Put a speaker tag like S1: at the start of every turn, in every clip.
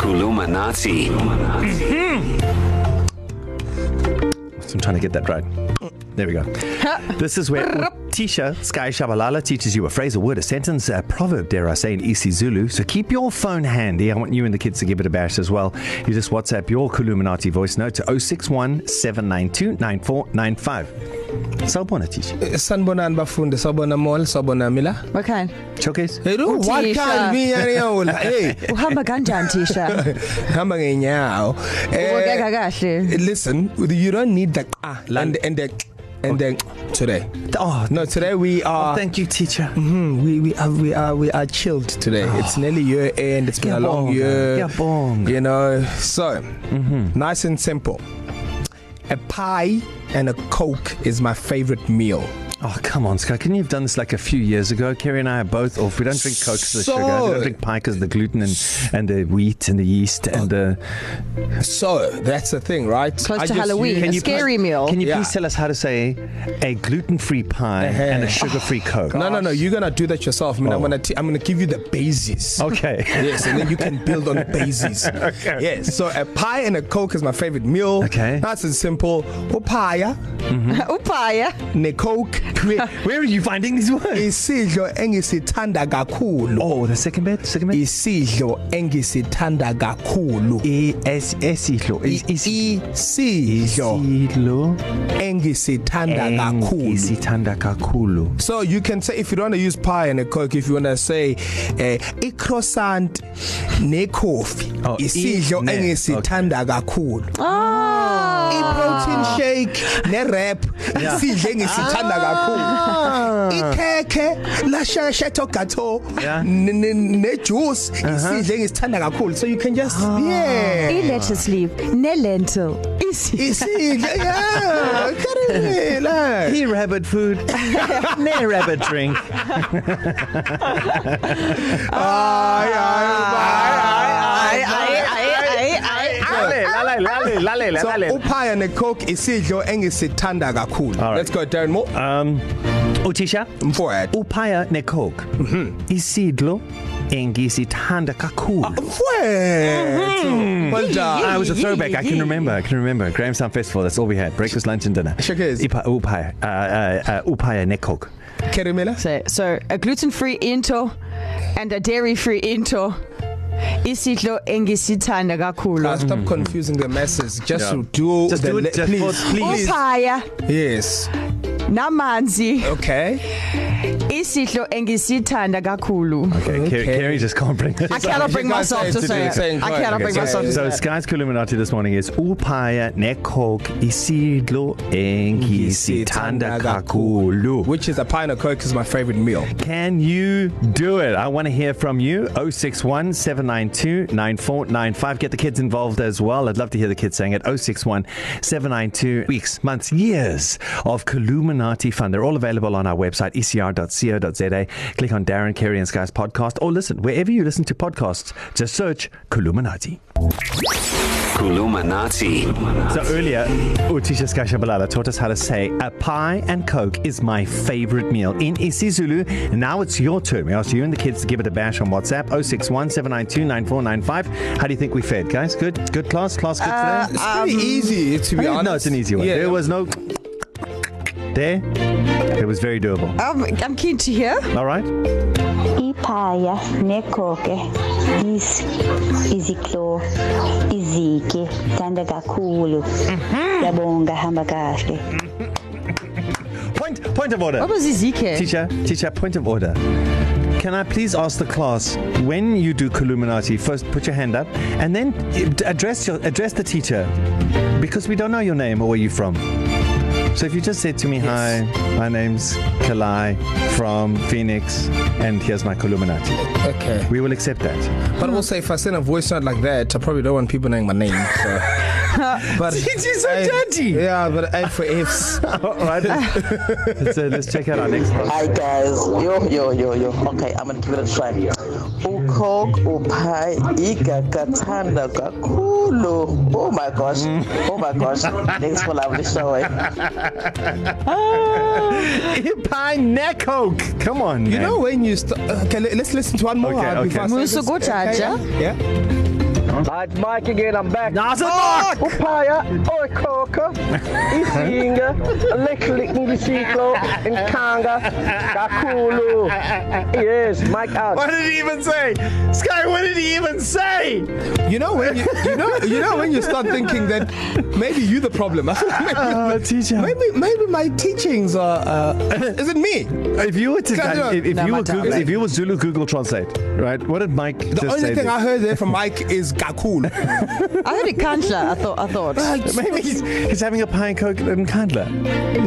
S1: Kulumanati.
S2: So I'm trying to get that right. There we go. this is where Tisha Sky Shabalala teaches you a phrase, a word, a sentence, a proverb, dare I say, in isiZulu. So keep your phone handy. I want you and the kids to give it a bash as well. You just WhatsApp your Kuluminati voice note to 061 792 9495. Sawubona Tisha.
S3: Eh. sanibonani bafunde sawubona mall sawubona mila
S4: Okay.
S2: Showcase.
S3: hello
S4: Uthisha.
S3: what kind me yona hey
S4: Uhamba kanjani
S3: Eh,
S4: Thisha?
S3: hamba ngenyawo
S4: Ubukeka kahle.
S3: Eh, listen you don't need the ah and and the and then today
S2: Oh,
S3: no today we
S2: oh,
S3: are
S2: thank you, teacher.
S3: mm, we we are we are we are chilled today
S4: Ah.
S3: oh. it's nearly year end it's been a long
S2: Ngiyabonga,
S3: year
S2: ngiyabonga.
S3: you know so mm-hmm. nice and simple a pie and a coke is my favorite meal
S2: Oh, come on, Sky. Couldn't you have done this like a few years ago? Kerry and I are both off. We don't drink Coke because of the sugar. We
S3: So-
S2: don't drink pie because of the gluten and, and the wheat and the yeast and uh, the.
S3: so that's the thing right
S4: Close to Halloween.
S3: use-
S4: Can you scary
S2: please,
S4: meal.
S2: Can you yeah.
S3: Yeah.
S2: please tell us how to say a gluten-free pie
S3: Uh-huh.
S2: and a sugar-free oh, Coke?
S3: No, no, no. You're gonna do that yourself. I mean, oh.
S2: Oh.
S3: I'm gonna t- I'm gonna give you the basis.
S2: Okay.
S3: Yes, and then you can build on basis. okay. Yes. So a pie and a coke is my favorite meal.
S2: Okay.
S3: Nice and simple. Upaya
S4: Upaya.
S3: ne coke
S2: Where are you finding these words?
S3: isidlo engisithanda kakhulu.
S2: Oh, the second bit. Second bit.
S3: Isidlo engisithanda kakhulu.
S2: E S S ihlo. Is E is
S3: Isidlo
S2: ihlo.
S3: engisithanda kakhulu.
S2: Isithanda kakhulu.
S3: So you can say if you don't want to use pie and a coke, if you want to say eh, i-croissant ne-coffee
S2: Oh, i-
S3: isidlo
S2: ne-
S3: engisithanda kakhulu.
S4: Ah. Oh.
S3: I-protein shake ne-wrap isidlo engisithanda kakhulu. Ikhekhe lashashetho gato
S2: Ah. Yeah. Uh-huh.
S3: ne-juice isidlo engisithanda kakhulu. So you can just
S2: Ah.
S3: yeah.
S4: I-lettuce leaf ne-lentil. Isi.
S3: Isidlo yeah. Karela.
S2: Hey, rabbit food. Nay, rabbit drink.
S3: Ay ay ay ay. ay.
S4: ay, ay.
S2: Lale, lale, lale,
S3: So uphaya necoke isidlo engisithanda kakhulu.
S2: All right.
S3: Right. Let's go Darren Mo
S2: Um, Utisha,
S3: mfowethu.
S2: upaya necoke. Isidlo engisithanda kakhulu.
S3: Mfowethu. Manja.
S2: Ah, it was a throwback. I can remember. I can remember. Graham Sound Festival. That's all we had. Breakfast, lunch, and dinner.
S3: Shakes.
S2: Ipa, upaya, uh, uh, uh, upaya nekok.
S3: Kerimela.
S4: So, so a gluten-free into and a dairy-free into. Isidlo engisithanda
S3: Uh,
S4: kakhulu.
S3: stop confusing the masses. Just
S2: Mm. Yeah.
S3: yeah. do
S2: Just
S3: the
S2: do it
S3: le-
S2: just
S3: please.
S2: for- please.
S4: Upaya
S3: Yes.
S4: namanzi.
S3: Okay.
S4: Isidlo engisithanda kakhulu.
S2: Okay, okay.
S3: Okay.
S2: Kerry just can't bring this.
S4: I cannot
S3: you
S4: bring
S3: guys
S4: myself
S3: say
S4: to
S3: to do
S4: say
S3: the
S4: it.
S3: same
S4: I
S3: thing.
S4: cannot
S3: Okay,
S4: bring
S3: so-
S4: myself to
S2: So
S4: say it.
S2: Sky's Kuluminati this morning is upaya nekok isidlo engisithanda kakhulu.
S3: Which is a pie and a coke is my favorite meal.
S2: Can you do it? I want to hear from you. 061 792 9495. Get the kids involved as well. I'd love to hear the kids saying it. 061 792 weeks, months, years of Kaluminati fun. They're all available on our website, E ecr.co.za. Click on Darren Carey and Sky's podcast or listen wherever you listen to podcasts. Just search Kaluminati.
S1: Kulumanati.
S2: So earlier, Utisha Skashabalala taught us how to say a pie and coke is my favorite meal in isiZulu. Now it's your turn. We asked you and the kids to give it a bash on WhatsApp 0617929495. How do you think we fared, guys? Good, good class, class good uh, today.
S3: It's pretty um, easy to be honest.
S2: No, it's an easy one. Yeah.
S3: Yeah.
S2: There was no there. It was very doable.
S4: I'm, I'm keen to Um, hear.
S2: All right.
S5: iphaya negoge is iziklo izike thanda kakhulu yabonga hamba kahle
S2: Point, point of order.
S4: What was E Izike?
S2: Teacher, teacher, point of order. Can I please ask the class when you do Columinati, first put your hand up and then uh, address your address the teacher because we don't know your name or where you're from. So if you just said to me, yes. "Hi, my name's Kalai from Phoenix, and here's my Columinati,"
S3: Okay.
S2: we will accept that.
S3: But also, if I send a voice note like that, I probably don't want people knowing my name. So. but
S2: You're so
S3: Hey,
S2: judgy.
S3: Yeah, but A for F's.
S2: All right. so let's check out our next class.
S6: Hi guys, yo yo yo yo. Okay, I'm gonna give it a try. Ukhok uphayi igagathanda kakhulu. Oh my gosh, oh my gosh. Thanks for lovely show. eh?
S2: Pie neck coke. Come on.
S3: You know when you st- okay, let, let's listen to one more
S2: Okay,
S3: okay,
S2: okay.
S3: before I say this.
S4: Musuku
S3: Yeah.
S4: Jaja.
S3: yeah.
S6: It's Mike again, I'm back.
S2: Nasa Mark!
S6: Upaya, oikhokha, izinga, lehlingisiqo, imkhanga, kakhulu. Yes, Mike out.
S2: What did he even say? Sky, what did he even say?
S3: You know when you, you know you know when you start thinking that maybe you're the problem.
S2: Oh, teacher.
S3: maybe maybe my teachings are. Uh, is it me?
S2: If you were to,
S3: Can't do
S2: if,
S3: it.
S2: if,
S4: No,
S2: you
S4: my
S2: were
S4: time.
S2: Google, if you were Zulu Google Translate, right? What did Mike
S3: The
S2: just say?
S3: only thing
S2: there?
S3: I heard there from Mike is Gakul.
S4: I heard a Kantler, I thought. I thought.
S2: Maybe he's, he's having a pie and coke and Kandler.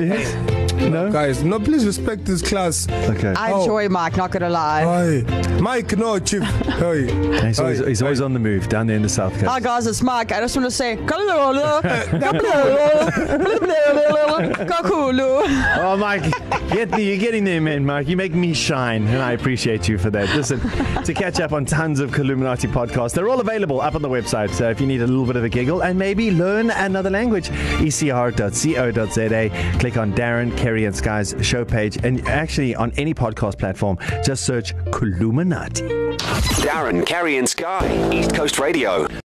S2: Yes. No.
S3: Guys, no, please respect this class.
S2: Okay.
S4: I
S3: Oh.
S4: enjoy Mike, not gonna lie.
S3: Hey, Mike, no, chief. Hey,
S2: He's always, he's always on the move down there in the south coast.
S4: Hi guys, it's Mike. I just want to say, Kalolo, Kalolo, Kalolo, Kakulu.
S2: Oh, Mike, get the, you're getting there, man, Mike. You make me shine, and I appreciate you for that. Listen, to catch up on tons of Columinati podcasts, they're all available up on the website. So if you need a little bit of a giggle and maybe learn another language, E ecr.co.za. Click on Darren, Kerry, and Sky's show page, and actually on any podcast platform, just search Columinati.
S1: Darren, Carrie, and Sky. East Coast Radio.